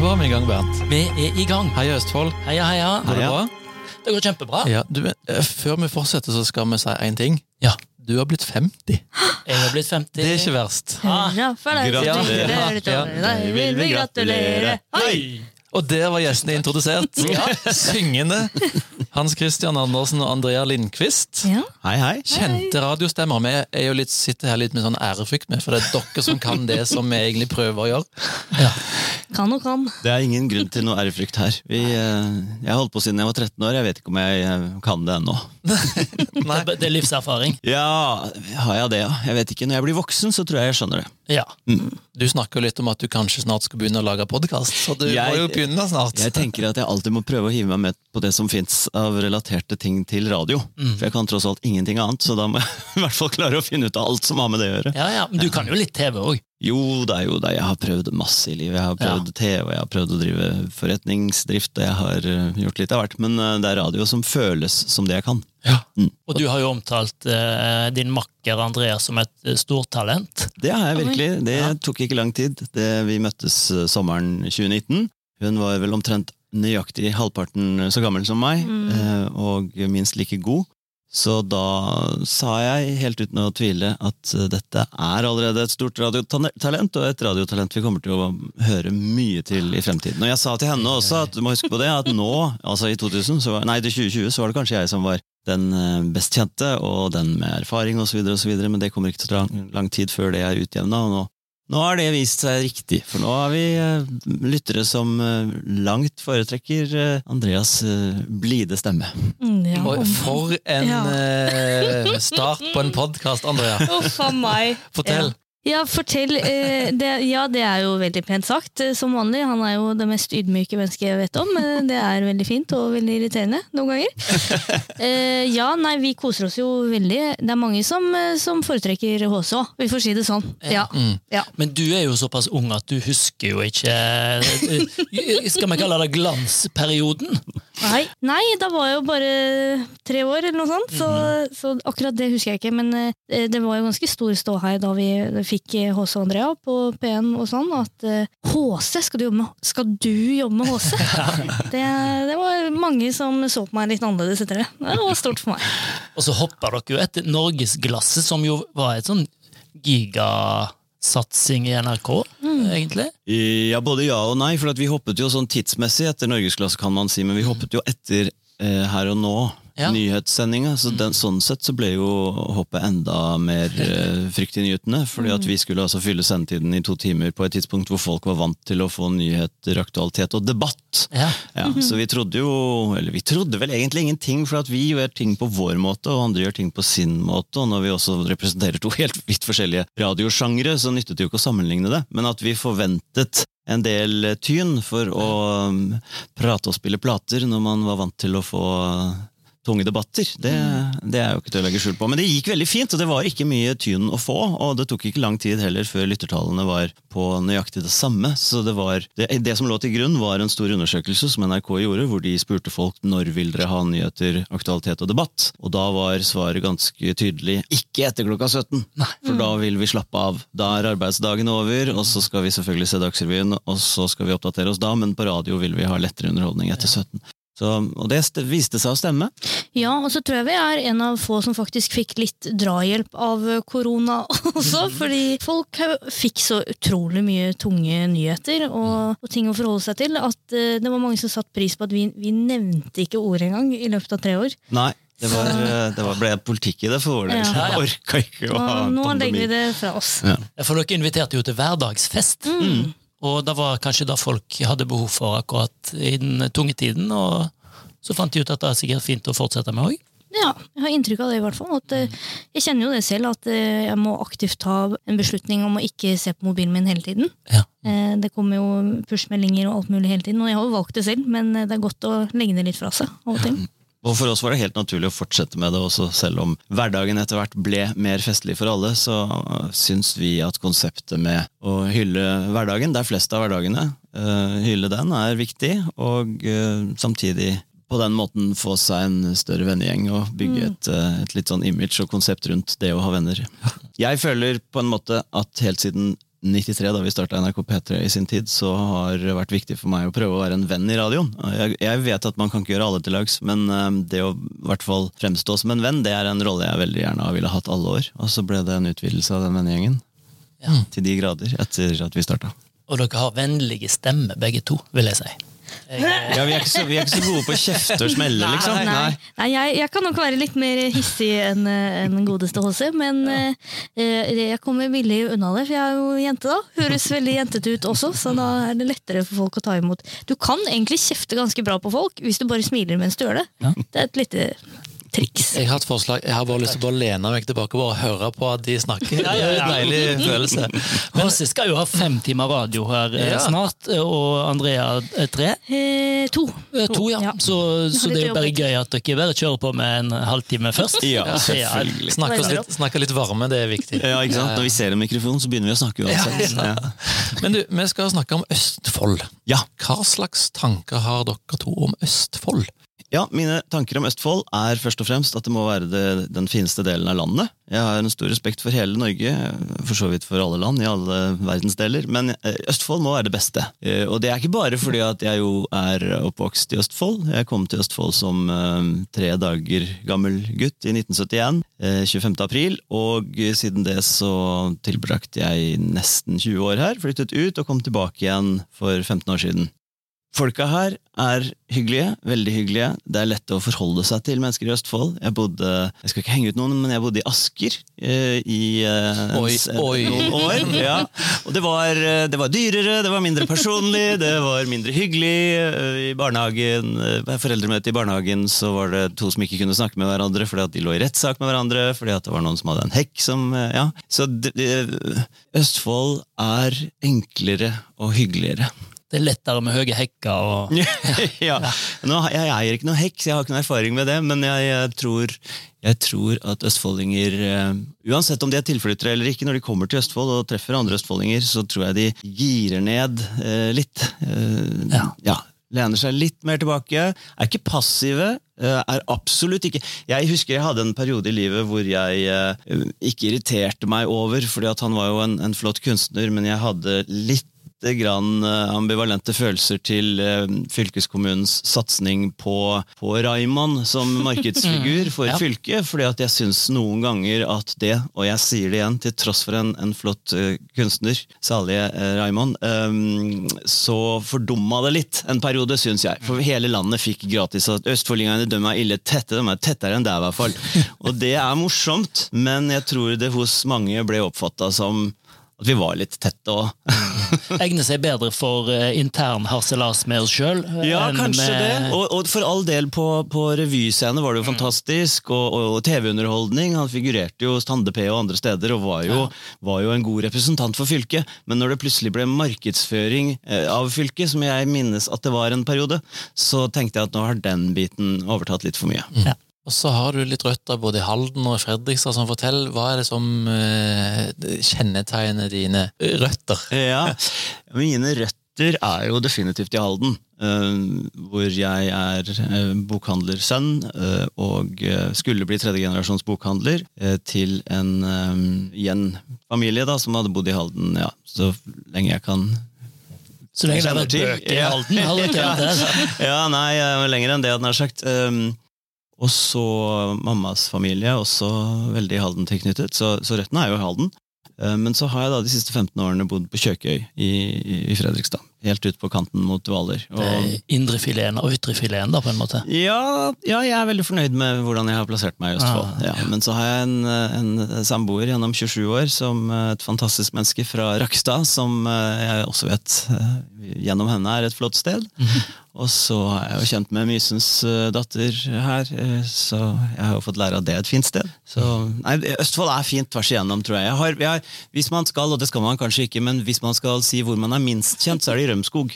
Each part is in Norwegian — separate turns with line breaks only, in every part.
var vi i gang, Bernt.
Vi er i gang.
Heia Østfold.
Heia, heia.
Går det
Heia.
bra?
Det går kjempebra.
Ja, du, eh, før vi fortsetter, så skal vi si én ting.
Ja.
Du har blitt 50.
Jeg har blitt 50.
Det er ikke verst.
Ah.
Hurra for deg som
Gratulerer.
fyller
Ja.
året. Deg vil vi gratulere. Hei!
Og der var gjestene introdusert. Syngende. Hans Christian Andersen og Andrea Lindqvist.
Ja,
Hei, hei.
Kjente radiostemmer. Vi er jo litt, sitter her litt med sånn ærefrykt, med, for det er dere som kan det som vi egentlig prøver å gjøre.
kan og kan.
Det er ingen grunn til noe ærefrykt her. Vi, eh, jeg har holdt på siden jeg var 13 år. Jeg vet ikke om jeg eh, kan det ennå.
Nei.
Det er livserfaring.
Ja, har jeg det, ja? Jeg vet ikke. Når jeg blir voksen, så tror jeg jeg skjønner det.
Ja.
Du snakker jo litt om at du kanskje snart skal begynne å lage podkast, så du
Jeg-
må jo begynne snart.
Jeg tenker at jeg alltid må prøve å hive meg med på det som fins av relaterte ting til radio.
Mm.
For jeg kan tross alt ingenting annet, så da må jeg i hvert fall klare å finne ut av alt som har med det å gjøre.
ja, ja. Men du kan jo litt TV òg.
Jo da, jo da, jeg har prøvd masse i livet. Jeg har prøvd TV, jeg har prøvd å drive forretningsdrift, og jeg har eh, gjort litt av hvert. Men eh, det er radio som føles som det jeg kan.
Mm. Og du har jo omtalt eh, din makker Andreas som et eh, stortalent.
Det har jeg virkelig. Det
Ja.
tok ikke lang tid. Det, vi møttes eh, sommeren 2019. Hun var vel omtrent nøyaktig halvparten så gammel som meg,
Mm.
eh, og minst like god. Så da sa jeg, helt uten å tvile, at eh, dette er allerede et stort radiotalent, og et radiotalent vi kommer til å høre mye til i fremtiden. Og jeg sa til henne også, at du må huske på det, at nå, altså i 2000, så var, nei, til 2020, så var det kanskje jeg som var den eh, best kjente, og den med erfaring osv., videre, men det kommer ikke til å ta lang, lang tid før det er utjevna. Nå, nå har det vist seg riktig, for nå har vi eh, lyttere som eh, langt foretrekker eh, Andreas eh, blide stemme.
Mm, ja.
Og for en
Ja.
eh, start på en podkast, Andrea.
Uff a meg.
Fortell.
Ja, fortell. eh, Det, ja, det er jo veldig pent sagt, eh, som vanlig. Han er jo det mest ydmyke mennesket jeg vet om. eh, Det er veldig fint og veldig irriterende noen ganger. Eh, Ja, nei, vi koser oss jo veldig. Det er mange som, eh, som foretrekker HC òg, vi får si det sånn. Ja.
Mm.
Men du er jo såpass ung at du husker jo ikke eh, Skal vi kalle det glansperioden?
Nei. Nei, da var jeg jo bare tre år eller noe sånt, så, så akkurat det husker jeg ikke. Men eh, det var jo ganske stor ståhei da vi fikk eh, HC Andrea på P1 og sånn, at eh, HC, skal du jobbe med, skal du jobbe med HC? det, det var mange som så på meg litt annerledes etter det. Det var stort for meg.
Og så hopper dere jo etter Norgesglasset, som jo var et sånn gigasatsing i NRK, egentlig.
Ja, både ja og nei, for at vi hoppet jo sånn tidsmessig etter Norgesklasse, kan man si, men vi hoppet jo etter eh, Her og nå.
Ja.
Nyhetssendinga. Så den, sånn sett så ble jo hoppet enda mer eh, fryktinngytende. Fordi at vi skulle altså fylle sendetiden i to timer på et tidspunkt hvor folk var vant til å få nyheter, aktualitet og debatt.
Ja.
Ja, Så vi trodde jo, eller vi trodde vel egentlig ingenting, for at vi gjør ting på vår måte, og andre gjør ting på sin måte. Og når vi også representerer to helt vidt forskjellige radiosjangre, så nyttet det jo ikke å sammenligne det. Men at vi forventet en del tyn for å um, prate og spille plater når man var vant til å få tunge debatter, det, det er jo ikke til å legge skjul på. Men det gikk veldig fint, og det var ikke mye tyn å få. Og det tok ikke lang tid heller før lyttertallene var på nøyaktig det samme. Så det, var, det, det som lå til grunn, var en stor undersøkelse som NRK gjorde, hvor de spurte folk når vil dere ha nyheter, aktualitet og debatt. Og da var svaret ganske tydelig ikke etter klokka 17, for da vil vi slappe av. Da er arbeidsdagen over, og så skal vi selvfølgelig se Dagsrevyen, og så skal vi oppdatere oss da, men på radio vil vi ha lettere underholdning etter 17. Så, og det st- viste seg å stemme.
Ja, og så tror jeg vi er en av få som faktisk fikk litt drahjelp av eh, korona også, fordi folk har- fikk så utrolig mye tunge nyheter og, og ting å forholde seg til, at eh, det var mange som satt pris på at vi, vi nevnte ikke ordet engang i løpet av tre år.
Nei, det, var, eh, det var, ble politikk i det for vår del.
Ja.
så Jeg orka ikke å
Nå,
ha en
nå legger vi
pandemi.
det fra oss.
For dere inviterte jo til hverdagsfest. Og det var kanskje da folk hadde behov for akkurat i den tunge tiden. Og så fant de ut at det er sikkert fint å fortsette med òg.
Ja, jeg har inntrykk av det i hvert fall. At, eh, jeg kjenner jo det selv, at eh, jeg må aktivt ta en beslutning om å ikke se på mobilen min hele tiden.
Ja.
Eh, Det kommer jo push-meldinger og alt mulig hele tiden, og jeg har jo valgt det selv, men eh, det er godt å legge det litt fra seg. av og til.
Og for oss var det helt naturlig å fortsette med det også, selv om hverdagen etter hvert ble mer festlig for alle, så eh, syns vi at konseptet med å hylle hverdagen, der flest av hverdagene, eh, hylle den er viktig, og eh, samtidig på den måten få seg en større vennegjeng og bygge
Mm.
et, eh, et litt sånn image og konsept rundt det å ha venner. Jeg føler på en måte at helt siden 1993, da vi starta NRK P3 i sin tid, så har det vært viktig for meg å prøve å være en venn i radioen. Jeg, jeg vet at man kan ikke gjøre alle til lags, men eh, det å i hvert fall fremstå som en venn, det er en rolle jeg veldig gjerne ville hatt alle år. Og så ble det en utvidelse av den vennegjengen.
Mm.
Ja.
Til de grader, etter at vi starta.
Og dere har vennlige stemmer, begge to, vil jeg si. Jeg,
Ja, vi er, ikke så, vi er ikke så gode på å kjefte og smelle, liksom.
Nei, Nei jeg, jeg kan nok være litt mer hissig enn eh, enn godeste HC, men eh, eh, jeg kommer billig unna det, for jeg er jo jente da. Høres veldig jentete ut også, så da er det lettere for folk å ta imot. Du kan egentlig kjefte ganske bra på folk, hvis du bare smiler mens du gjør det. Det er et lite triks.
Jeg har et forslag. Jeg har bare lyst til å bare lene meg tilbake og bare høre på at de snakker.
Ja, ja, ja.
Det er en deilig følelse.
Hasse skal jo ha fem timer radio her eh,
Ja.
snart, eh, og Andrea eh, tre.
Eh, to.
Eh, To, ja.
Ja.
Så, så det er jo bare gøy at dere bare kjører på med en halvtime først.
Ja,
Ja,
selvfølgelig.
Snakke oss litt, snakke litt varme, det er viktig.
Ja, ikke sant? Når vi ser en mikrofon, så begynner vi å snakke uansett. Ja.
Men du, vi skal snakke om Østfold.
Ja.
Hva slags tanker har dere to om Østfold?
Ja, mine tanker om Østfold er først og fremst at det må være det, den fineste delen av landet. Jeg har en stor respekt for hele Norge, for så vidt for alle land i alle verdensdeler, men eh, Østfold må være det beste. Eh, Og det er ikke bare fordi at jeg jo er oppvokst i Østfold. Jeg kom til Østfold som eh, tre dager gammel gutt i 1971, eh, 25. april, og eh, siden det så tilbrakte jeg nesten 20 år her, flyttet ut og kom tilbake igjen for 15 år siden. Folka her er hyggelige, veldig hyggelige. Det er lett å forholde seg til mennesker i Østfold. Jeg bodde, jeg skal ikke henge ut noen, men jeg bodde i Asker eh, i eh, en-
Oi,
en-
oi.
noen år. Ja. Og det var, eh, det var dyrere, det var mindre personlig, det var mindre hyggelig. Eh, I barnehagen, eh, ved foreldremøtet i barnehagen så var det to som ikke kunne snakke med hverandre fordi at de lå i rettssak med hverandre, fordi at det var noen som hadde en hekk som eh, Ja. Så det, det, Østfold er enklere og hyggeligere
Det er lettere med høye hekker og
ja. Nå, har- jeg eier ikke noe hekk, så jeg har ikke noe erfaring med det, men jeg, eh, tror, jeg tror at østfoldinger, eh, uansett om de er tilflyttere eller ikke, når de kommer til Østfold og treffer andre østfoldinger, så tror jeg de girer ned eh, litt. Eh,
Ja.
Lener seg litt mer tilbake. Er ikke passive. eh, Er absolutt ikke Jeg husker jeg hadde en periode i livet hvor jeg eh, ikke irriterte meg over, fordi at han var jo en, en flott kunstner, men jeg hadde litt lite grann eh, ambivalente følelser til eh, fylkeskommunens satsning på, på Reimann som markedsfigur for fylket, fordi at jeg syns noen ganger at det, og jeg sier det igjen, til tross for en, en flott eh, kunstner, salige eh, Reimann, eh, så fordumma det litt en periode, syns jeg. For hele landet fikk gratis at østfoldingene de er ille tette, de er tettere enn deg i hvert fall. Og det er morsomt, men jeg tror det hos mange ble oppfatta som at vi var litt tette òg.
egner seg bedre for eh, intern harselas med oss eh, sjøl.
Ja, kanskje
eh,
det. Og, og for all del, på, på revyscene var det jo fantastisk, og, og TV-underholdning. Han figurerte jo hos Tande P og andre steder, og var jo, var jo en god representant for fylket. Men når det plutselig ble markedsføring eh, av fylket, som jeg minnes at det var en periode, så tenkte jeg at nå har den biten overtatt litt for mye.
Og så har du litt røtter både i Halden og Fredrikstad. som forteller, Hva er det som eh, kjennetegner dine røtter?
Ja, mine røtter er jo definitivt i Halden. eh, hvor jeg er eh, bokhandlersønn eh, og eh, skulle bli tredjegenerasjons bokhandler eh, til en eh, igjen familie da, som hadde bodd i Halden ja, så lenge jeg kan
Så lenge det har vært
Jeg kjenner til.
bøker i
Ja.
Halden, har dere ikke vært der.
ja, nei, eh, lenger enn det hadde jeg sagt. Um, og så mammas familie, også veldig Halden tilknyttet, så, så røttene er jo i Halden. Eh, Men så har jeg da de siste 15 årene bodd på Kjøkøy i, i Fredrikstad. Helt ut på kanten mot Hvaler.
sånn,
Og-
Indrefileten eh, og ytrefileten, da, på en måte.
Ja, ja, jeg er veldig fornøyd med hvordan jeg har plassert meg i Østfold.
Ah,
ja. Men så har jeg en, eh, en samboer gjennom 27 år, som eh, et fantastisk menneske fra Rakstad, som eh, jeg også vet eh, gjennom henne er et flott sted. Og så er jeg jo kjent med Mysens eh, datter her, eh, så jeg har jo fått lære at det er et fint sted. Så, nei, Østfold er fint tvers igjennom, tror jeg. jeg, har, jeg har, hvis man skal, og det skal man kanskje ikke, men hvis man skal si hvor man er minst kjent, så er det i Rømskog.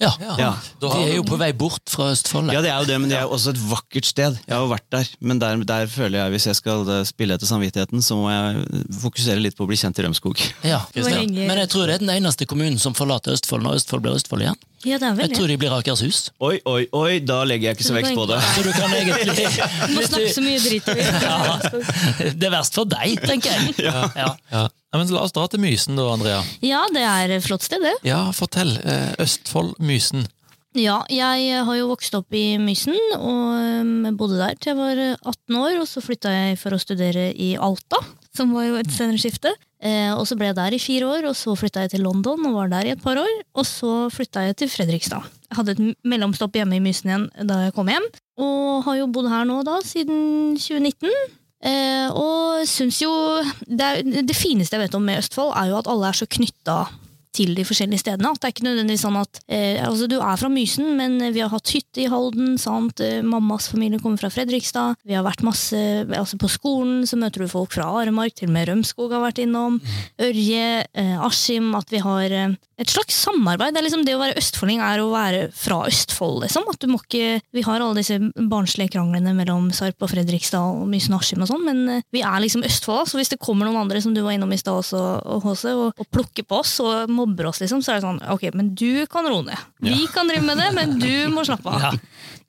Ja.
Ja.
Da
Vi
har
er
du
jo på vei bort fra Østfold.
Ja, det er jo det, men det er jo også et vakkert sted. Jeg har jo vært der, men der, der føler jeg hvis jeg skal eh, spille etter samvittigheten, så må jeg fokusere litt på å bli kjent i Rømskog.
Ja.
Må henge-
Men jeg tror det er den eneste kommunen som forlater Østfold når Østfold blir Østfold igjen.
Ja, det er vel
Jeg
det.
tror de blir Akershus.
Oi, oi, oi, da legger jeg ikke så vekt på det.
Så du kan egentlig
Du må snakke så mye drit.
Det er verst for deg, tenker jeg. Ja.
Ja. Nei, men La oss dra til Mysen da, Andrea.
Ja, det er et flott sted, det.
Ja, fortell. eh, Østfold, Mysen.
Ja, jeg har jo vokst opp i Mysen og øhm, bodde der til jeg var øh, 18 år. Og så flytta jeg for å studere i Alta, som var jo et senere skifte. Eh, og så ble jeg der i fire år, og så flytta jeg til London og var der i et par år. Og så flytta jeg til Fredrikstad. Jeg hadde et m- mellomstopp hjemme i Mysen igjen da jeg kom hjem. Og har jo bodd her nå da siden 2019. Eh, og syns jo det, er, det fineste jeg vet om med Østfold, er jo at alle er så knytta til de forskjellige stedene. At det er ikke nødvendigvis sånn at eh, altså Du er fra Mysen, men vi har hatt hytte i Halden. sant? Eh, Mammas familie kommer fra Fredrikstad. Vi har vært masse altså På skolen så møter du folk fra Aremark, til og med Rømskog har vært innom. Ørje, eh, Askim. At vi har eh, et slags samarbeid. Det, er liksom det å være østfolding er å være fra Østfold, liksom. At du må ikke, vi har alle disse barnslige kranglene mellom Sarp og Fredrikstad og Mysen og Askim og sånn, men eh, vi er liksom Østfold, da, så hvis det kommer noen andre som du var innom i stad også, og HC, og, og plukker på oss og mobber oss, liksom, så er det sånn ok, men du kan roe ned. Vi kan drive med det, men du må slappe av.
Ja.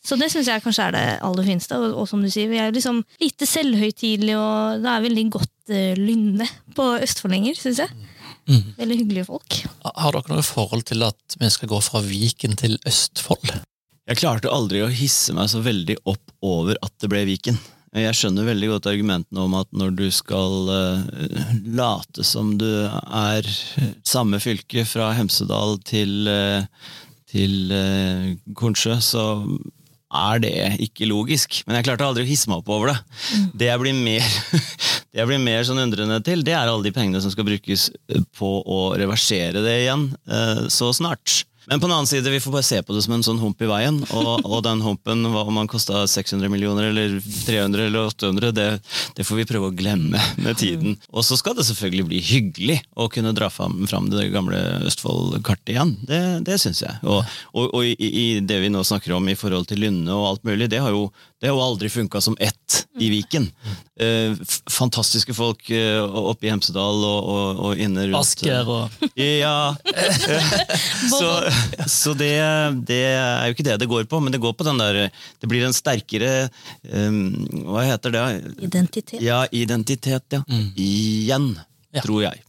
Så det syns jeg kanskje er det aller fineste. Og, og som du sier, vi er liksom lite selvhøytidelige, og det er veldig godt eh, lynne på østfoldinger, syns jeg.
Mm.
Veldig hyggelige folk.
Har dere noe forhold til at vi skal gå fra Viken til Østfold?
Jeg klarte aldri å hisse meg så veldig opp over at det ble Viken. Jeg skjønner veldig godt argumentene om at når du skal eh, late som du er samme fylke fra Hemsedal til, eh, til eh, Kornsjø, så er det ikke logisk. Men jeg klarte aldri å hisse meg opp over det. Det jeg blir mer, det jeg blir mer sånn undrende til, det er alle de pengene som skal brukes eh, på å reversere det igjen eh, så snart. Men på den annen side, vi får bare se på det som en sånn hump i veien. Og, og den humpen, hva om den kosta 600 millioner eller 300 eller 800, det, det får vi prøve å glemme med tiden. Og så skal det selvfølgelig bli hyggelig å kunne dra fram, fram det gamle Østfold-kartet igjen. Det, det syns jeg. Og, og, og i, i det vi nå snakker om i forhold til Lynne og alt mulig, det har jo det har jo aldri funka som ett i Viken. Eh, f- fantastiske folk eh, oppe i Hemsedal og, og, og inne rundt
Asker og
Ja. så så det, det er jo ikke det det går på, men det går på den der Det blir en sterkere eh, Hva heter det?
Identitet.
Ja, identitet, ja. Igjen,
Ja.
tror jeg.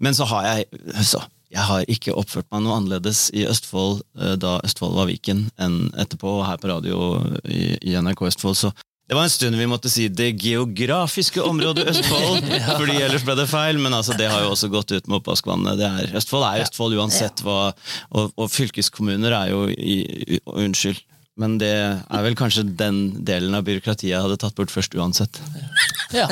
Men så har jeg så, Jeg har ikke oppført meg noe annerledes i Østfold eh, da Østfold var Viken, enn etterpå her på radio i, i NRK Østfold. Så det var en stund vi måtte si 'det geografiske området Østfold', fordi ellers ble det feil. Men altså, det har jo også gått ut med oppvaskvannet. Det er, Østfold er Østfold uansett hva Og, og fylkeskommuner er jo i, i, Unnskyld. Men det er vel kanskje den delen av byråkratiet jeg hadde tatt bort først uansett.
Ja.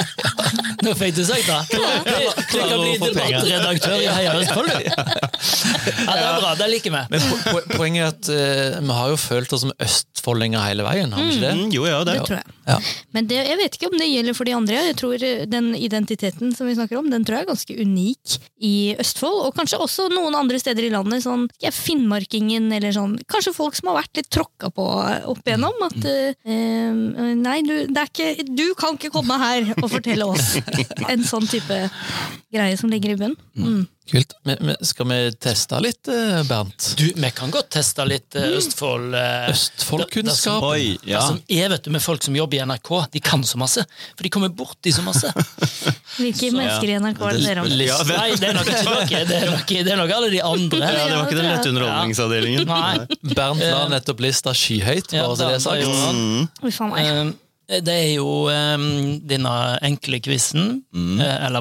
Nå fikk du sagt det. Det det kan bli debattredaktør i Heia Østfold, du. Ja, det er bra. Det liker vi.
Men po- po- Poenget er at eh, vi har jo følt oss som østfoldinger hele veien, har vi ikke det?
Mm-hmm.
Mm, jo, ja, det.
Det tror jeg.
Ja.
Men det, jeg vet ikke om det gjelder for de andre. Jeg tror eh, Den identiteten som vi snakker om, den tror jeg er ganske unik i Østfold. Og kanskje også noen andre steder i landet. Sånn ja, Finnmarkingen eller sånn. Kanskje folk som har vært litt tråkka på eh, opp igjennom. At
Mm.
eh, eh, nei, du, det er ikke, du kan ikke komme her og fortelle oss en sånn type greie som ligger i bunnen. Mm.
Kult. Men, men skal vi teste litt, eh, Bernt?
Du, vi kan godt teste litt
Mm.
eh, Østfold. eh,
Østfoldkunnskap?
Oi,
Det
ja.
som er vet du, med folk som jobber i NRK, de kan så masse. For de kommer borti så masse.
Hvilke mennesker i NRK er det dere om?
Litt- Ja, vel.
Nei, det er nok ikke dere. Det er nok, det er nok alle de andre.
Ja, det var ikke den lette underholdningsavdelingen.
Nei.
Bernt la nettopp lista skyhøyt,
Ja,
bare så det er
da- da
sagt.
gjorde
Mm.
han.
Ui, faen meg.
Eh, Det er jo eh, denne enkle quizen,
Mm.
eh, eller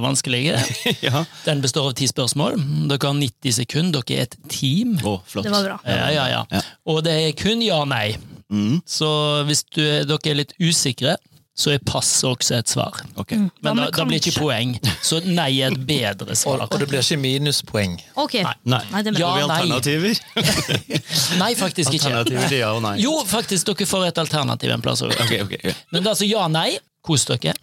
vanskelige.
Ja.
Den består av ti spørsmål. Dere har 90 sekunder. Dere er et team.
Å, flott.
Det var bra.
Ja, ja, ja. Og det er kun ja og nei.
Mm.
Så hvis du, dere er litt usikre, så er pass også et svar.
Ok.
Hva
Men da,
med
da blir det
kanskje?
ikke poeng. Så nei er et bedre
Og,
svar.
og det blir ikke minuspoeng.
Ok.
Nei.
Nei, det er bra.
Har vi
Ja, nei.
alternativer?
Nei, faktisk ikke.
Alternativer til ja og nei.
Jo, faktisk, dere får et alternativ en plass også.
Ok, ok. ok.
Men det er altså ja og nei. Kos dere.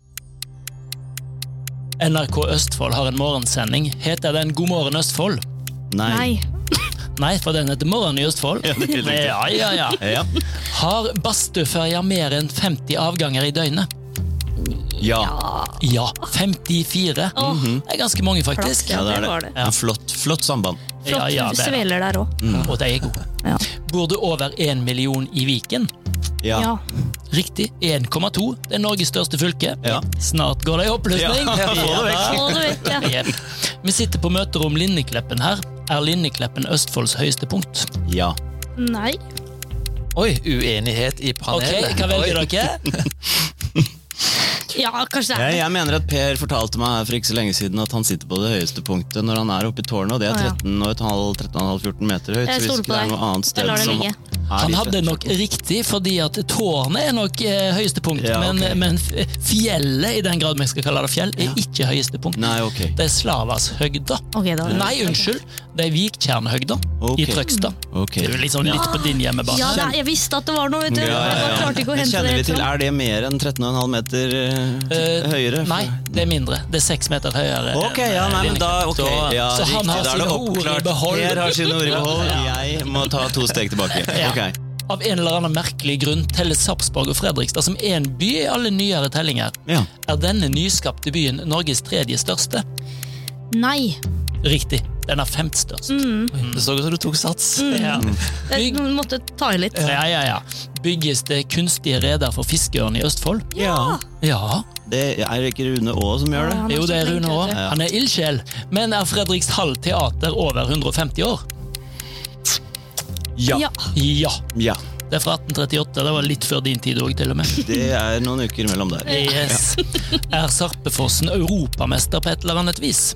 NRK Østfold har en morgensending. Heter den God morgen Østfold?
Nei.
Nei.
Nei, for den heter Morgen i Østfold.
Ja, det er riktig.
Ja, ja, ja.
Ja.
Har Bastøferja mer enn 50 avganger i døgnet?
Ja.
Ja, 54. Det er ganske mange, faktisk.
Flask,
ja, det er
det var
det.
det.
En flott, flott samband.
Ja,
Flott
ja, det er det.
sveler der òg.
Og de er gode.
Ja.
Bor det over én million i Viken?
Ja.
Ja.
Riktig. 1,2. Det er Norges største fylke.
Ja.
Snart går det i oppløsning.
Ja, få det vekk.
Å, du vet, ja.
Jepp. Vi sitter på møterom Linnekleppen her. Er Linnekleppen Østfolds høyeste punkt?
ja.
Nei.
Oi, uenighet i
Ok,
panelet.
hva velger
Oi.
dere?
Ja, kanskje det er
Jeg,
det.
jeg mener at Per fortalte meg her for ikke så lenge siden at han sitter på det høyeste punktet når han er oppe i tårnet, og det
Å,
er
ja.
13,5-14 meter høyt.
Jeg
så hvis
stoler
ikke
på
det er
deg.
noe annet
Jeg
sted
lar det
som
ligge.
er
Han
litt
hadde
rett.
nok riktig, fordi at tårnet er nok eh, høyeste punkt.
Ja, ok.
men, men f- fjellet, i den grad vi skal kalle det fjell, er ikke høyeste punkt.
Nei, ok.
Det er Slavashøgda.
Ok, da.
Nei, unnskyld. Det er Viktjernhøgda
Ok.
i Trøgstad.
Ok.
Det er jo liksom litt på din hjemmebane.
Ja, nei, jeg visste at det var noe, vet du.
Ja, ja, ja.
Jeg klarte ikke å
Men
hente
Kjenner
det.
vi til,
helt
Er det mer enn 13,5 meter eh,
Eh,
høyere?
Nei, det er mindre. Det er seks meter høyere. enn,
Ok, ja,
eh,
nei, men da
Linnekleppen.
ok.
Så-
Ja,
så han
riktig,
har
da er det
sine ord i
oppklart.
behold.
Per har sine ord i behold. Jeg må ta to steg tilbake.
Ja.
Ok.
Av en eller annen merkelig grunn teller Sarpsborg og Fredrikstad som én by i alle nyere tellinger.
Ja.
Er denne nyskapte byen Norges tredje største?
fram. Nei. Mm.
Riktig, den er femt størst.
Det så ut som du tok sats.
Ja.
Mm.
Jeg
Bygg,
måtte ta i litt.
ja, ja, ja. Bygges det kunstige reder for fiskeørn i Østfold?
Ja.
Ja.
Det er ikke Rune Aa som gjør det?
Ja. Han er
Jo,
så
det er
flink,
Rune òg.
vet
du.
Han er ildsjel. Men er Fredrikshall teater over 150 år?
Ja.
Ja.
Ja.
Det er fra 1838. Det var litt før din tid òg, til og med.
Det er noen uker mellom der.
Eh.
Yes. Er Sarpefossen europamester på et eller annet vis?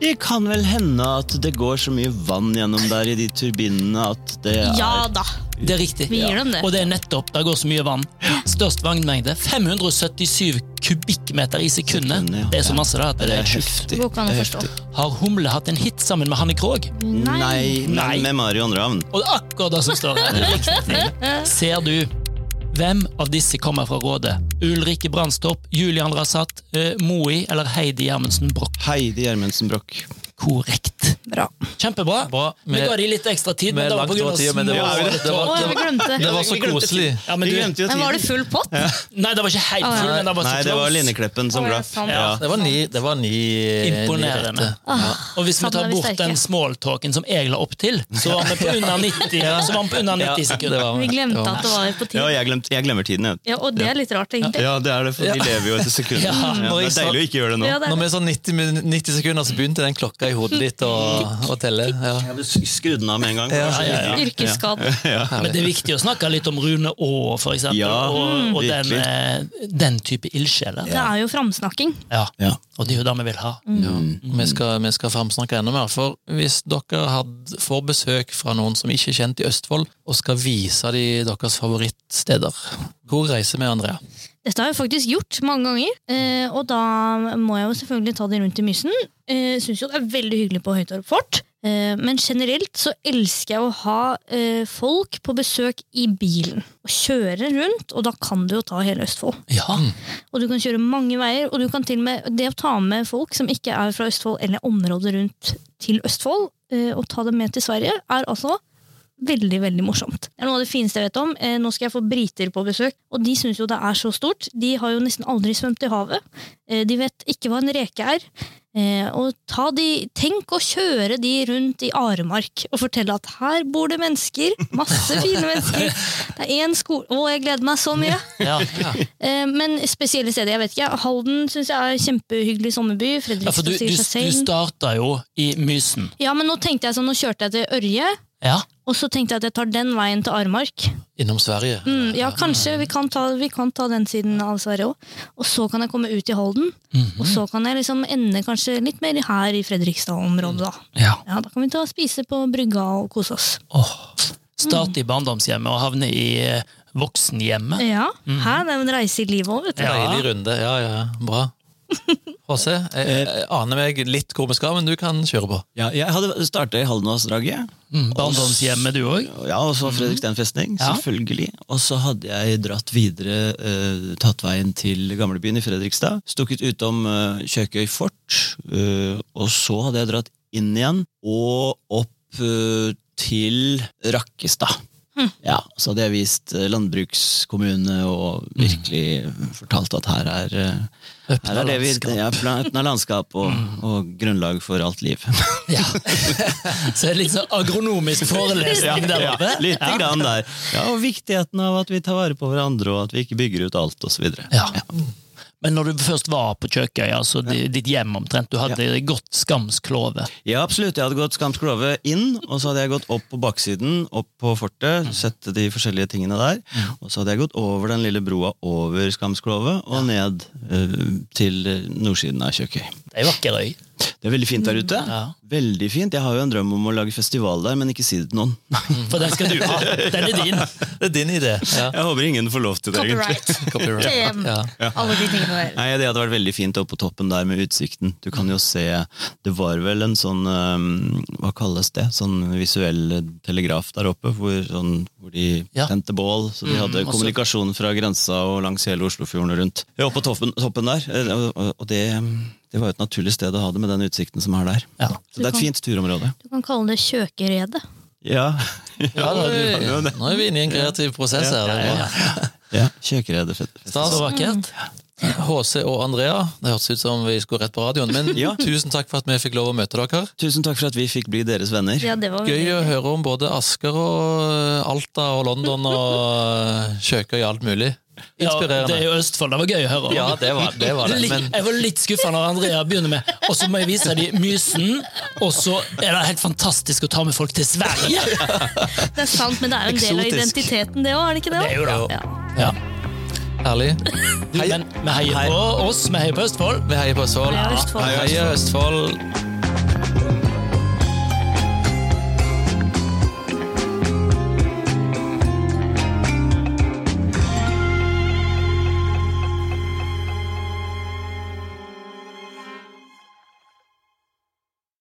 Det kan vel hende at det går så mye vann gjennom der i de turbinene at det er
Ja da.
Det er riktig.
Vi gir dem det.
Og det er nettopp. Det går så mye vann. Størst vognmengde. 577 kubikkmeter i sekundet.
Sekundet, ja.
Det er så masse, da. At det er tjuft.
heftig.
Det går ikke an å
Det er
forstå.
heftig.
Har Humle hatt en hit sammen med Hanne Krogh?
Nei,
Nei.
men
Nei.
med Marion Ravn.
Og det er akkurat det som står her. Riktig. Ser du. Hvem av disse kommer fra Rådet? Ulrikke Brandstorp, Julian Rasat, eh, Moi eller Heidi Gjermundsen Broch?
Heidi Gjermundsen Broch.
Korrekt.
Bra.
Kjempebra.
Bra.
Vi ga de litt ekstra tid, men
Med
det var
langt
pga.
over tida, men det var,
små-
det
Å,
var, det
jeg
var,
glemte.
det var så koselig.
Ja, men
Vi
du,
glemte jo
Men var det
tiden.
full pott?
nei, det var ikke helt full, men det var så
Nei, det var
close.
Linnekleppen som
Å, ja,
glapp.
sant.
Ja.
Det var ni, det var ni
Imponerende.
ni rette.
Ah,
Og hvis vi
Sammen
tar
er vi
bort
sterke.
den smalltalken som jeg la opp til, så var vi på under 90, så var vi på under 90
det
sekunder.
var-
Vi
det
glemte
var-
at det var
Ja,
på tide.
jeg, glemt, jeg glemmer tiden, jeg.
Ja, og det er litt rart, egentlig.
Ja, det er det, for de lever jo etter sekunder.
Ja,
Ja,
når
det
jeg
er
sa-
deilig å ikke gjøre det nå.
Ja, det
Når
er
vi
det.
er sånn 90, min- 90 sekunder, så begynte den klokka i hodet ditt å, å telle. Ja.
Jeg vil skru den av med en gang.
Ja,
kanskje.
ja, ja.
Yrkesskade.
Men det er viktig å snakke litt om Rune Aa, for eksempel,
Ja,
og, og den,
virkelig.
eh, den type ildsjeler.
Det er jo framsnakking.
Ja.
Ja.
Og det er jo det vi vil ha.
Vi skal, vi skal framsnakke enda mer. For hvis dere had, får besøk fra noen som ikke er kjent i Østfold, og skal vise de deres favorittsteder, hvor reiser vi, Andrea?
Dette har jeg faktisk gjort mange ganger, eh, og da må jeg jo selvfølgelig ta det rundt i mysen. Eh, Syns jo det er veldig hyggelig på Høytorp fort, eh, men generelt så elsker jeg å ha eh, folk på besøk i bilen. Og kjøre rundt, og da kan du jo ta hele Østfold.
Ja,
Mm.
Og du kan kjøre mange veier, og du kan til og med det å ta med folk som ikke er fra Østfold eller området rundt til Østfold, eh, og ta dem med til Sverige, er altså veldig, veldig morsomt. Det er noe av det fineste jeg vet om. Eh, Nå skal jeg få briter på besøk, og de syns jo det er så stort. De har jo nesten aldri svømt i havet. Eh, De vet ikke hva en reke er. Eh, Og ta de, tenk å kjøre de rundt i Aremark og fortelle at her bor det mennesker, masse fine mennesker. Det er én skole Å, jeg gleder meg så mye!
ja.
Eh, Men spesielle steder, jeg vet ikke. Halden syns jeg er kjempehyggelig sommerby.
ja for du,
Fredrikstad
du,
sier seg
du
selv.
starta jo i Mysen.
Ja, men nå tenkte jeg sånn, nå kjørte jeg til Ørje,
Ja.
og så tenkte jeg at jeg tar den veien til Aremark.
Innom Sverige?
Mm, ja, kanskje. Vi kan, ta, vi kan ta den siden av Sverige òg. Og så kan jeg komme ut i Halden.
Mhm.
Og så kan jeg liksom ende kanskje litt mer her i Fredrikstad-området, da.
ja.
Ja, Da kan vi ta og spise på brygga og kose oss.
Åh. Starte i barndomshjemmet og havne i eh, voksenhjemmet.
Ja, her, Det er jo en reise i livet òg, vet du.
Mhm. Ja.
Deilig runde. Ja, ja, bra. HC, jeg, jeg aner meg litt hvor vi skal, men du kan kjøre på.
Ja, jeg hadde starta i Haldenvassdraget.
Mm, barndomshjemmet, du òg.
Ja, og så Fredriksten festning,
Ja.
selvfølgelig. Og så hadde jeg dratt videre, eh, tatt veien til gamlebyen i Fredrikstad. Stukket utom eh, Kjøkøy fort, eh, og så hadde jeg dratt inn igjen og opp eh, til Rakkestad. Ja, Så hadde jeg vist eh, landbrukskommune og virkelig fortalt at her er, eh, her er det vi ja, Øpna landskap og, og grunnlag for alt liv.
Ja. Så det er litt sånn agronomisk forelesning der
ja,
oppe.
litt grann der. Ja, Og viktigheten av at vi tar vare på hverandre, og at vi ikke bygger ut alt osv.
Ja. Men når du først var på Kjøkøya, altså di- ditt hjem omtrent, du hadde godt skamsklove.
Ja, absolutt. Jeg hadde gått skamsklove inn, og så hadde jeg gått opp på baksiden, opp på fortet, sett de forskjellige tingene der. Og så hadde jeg gått over den lille broa over skamsklove og ned eh, til nordsiden av Kjøkøy.
Det er jo vakker øy.
Det er veldig fint der ute.
Ja.
Veldig fint. Jeg har jo en drøm om å lage festival der, men ikke si det til noen.
For den skal du ha. Den er din.
Det er din idé. Ja.
Jeg håper ingen får lov til det, egentlig.
Copyright.
Copyright.
TM.
Ja.
Alle de tingene der.
Nei, Det hadde vært veldig fint oppe på toppen der med utsikten. Du kan jo se Det var vel en sånn øhm, Hva kalles det? Sånn visuell telegraf der oppe, hvor, sånn, hvor de
Ja.
tente bål. Så de hadde
også-
kommunikasjon fra grensa og langs hele Oslofjorden og rundt. Ja, oppe på toppen, toppen der. eh, Og, og det, det var jo et naturlig sted å ha det med den utsikten som er der.
Ja.
Så det er et fint turområde.
Du kan kalle det kjøkeredet.
Ja,
Ja, da, du, nå er vi inne i en kreativ prosess her. Det er bra.
ja Kjøkeredet. fett- fett.
Stas.
Så vakkert.
HC og Andrea, det hørtes ut som vi skulle rett på radioen, men
Ja.
tusen takk for at vi fikk lov å møte dere.
Tusen takk for at vi fikk bli deres venner.
Ja, det var
Gøy
veldig
å høre om både Asker og eh, Alta og London og Kjøkøy og alt mulig.
Ja, det er
Inspirerende.
jo Østfold. Det var gøy å høre. om.
Ja, det var det. Var det.
Litt-
Men
Jeg var litt skuffa når Andrea begynner med Og så må jeg vise dem Mysen, og så er det helt fantastisk å ta med folk til Sverige!
Det er sant, men det er jo en del av
Eksotisk.
identiteten, det òg, er det ikke det?
Det er jo det.
Ja.
Ja.
herlig.
Men vi heier
Hei.
på oss, vi heier på Østfold.
Vi heier på Østfold.
Heia Østfold.
Heia Østfold.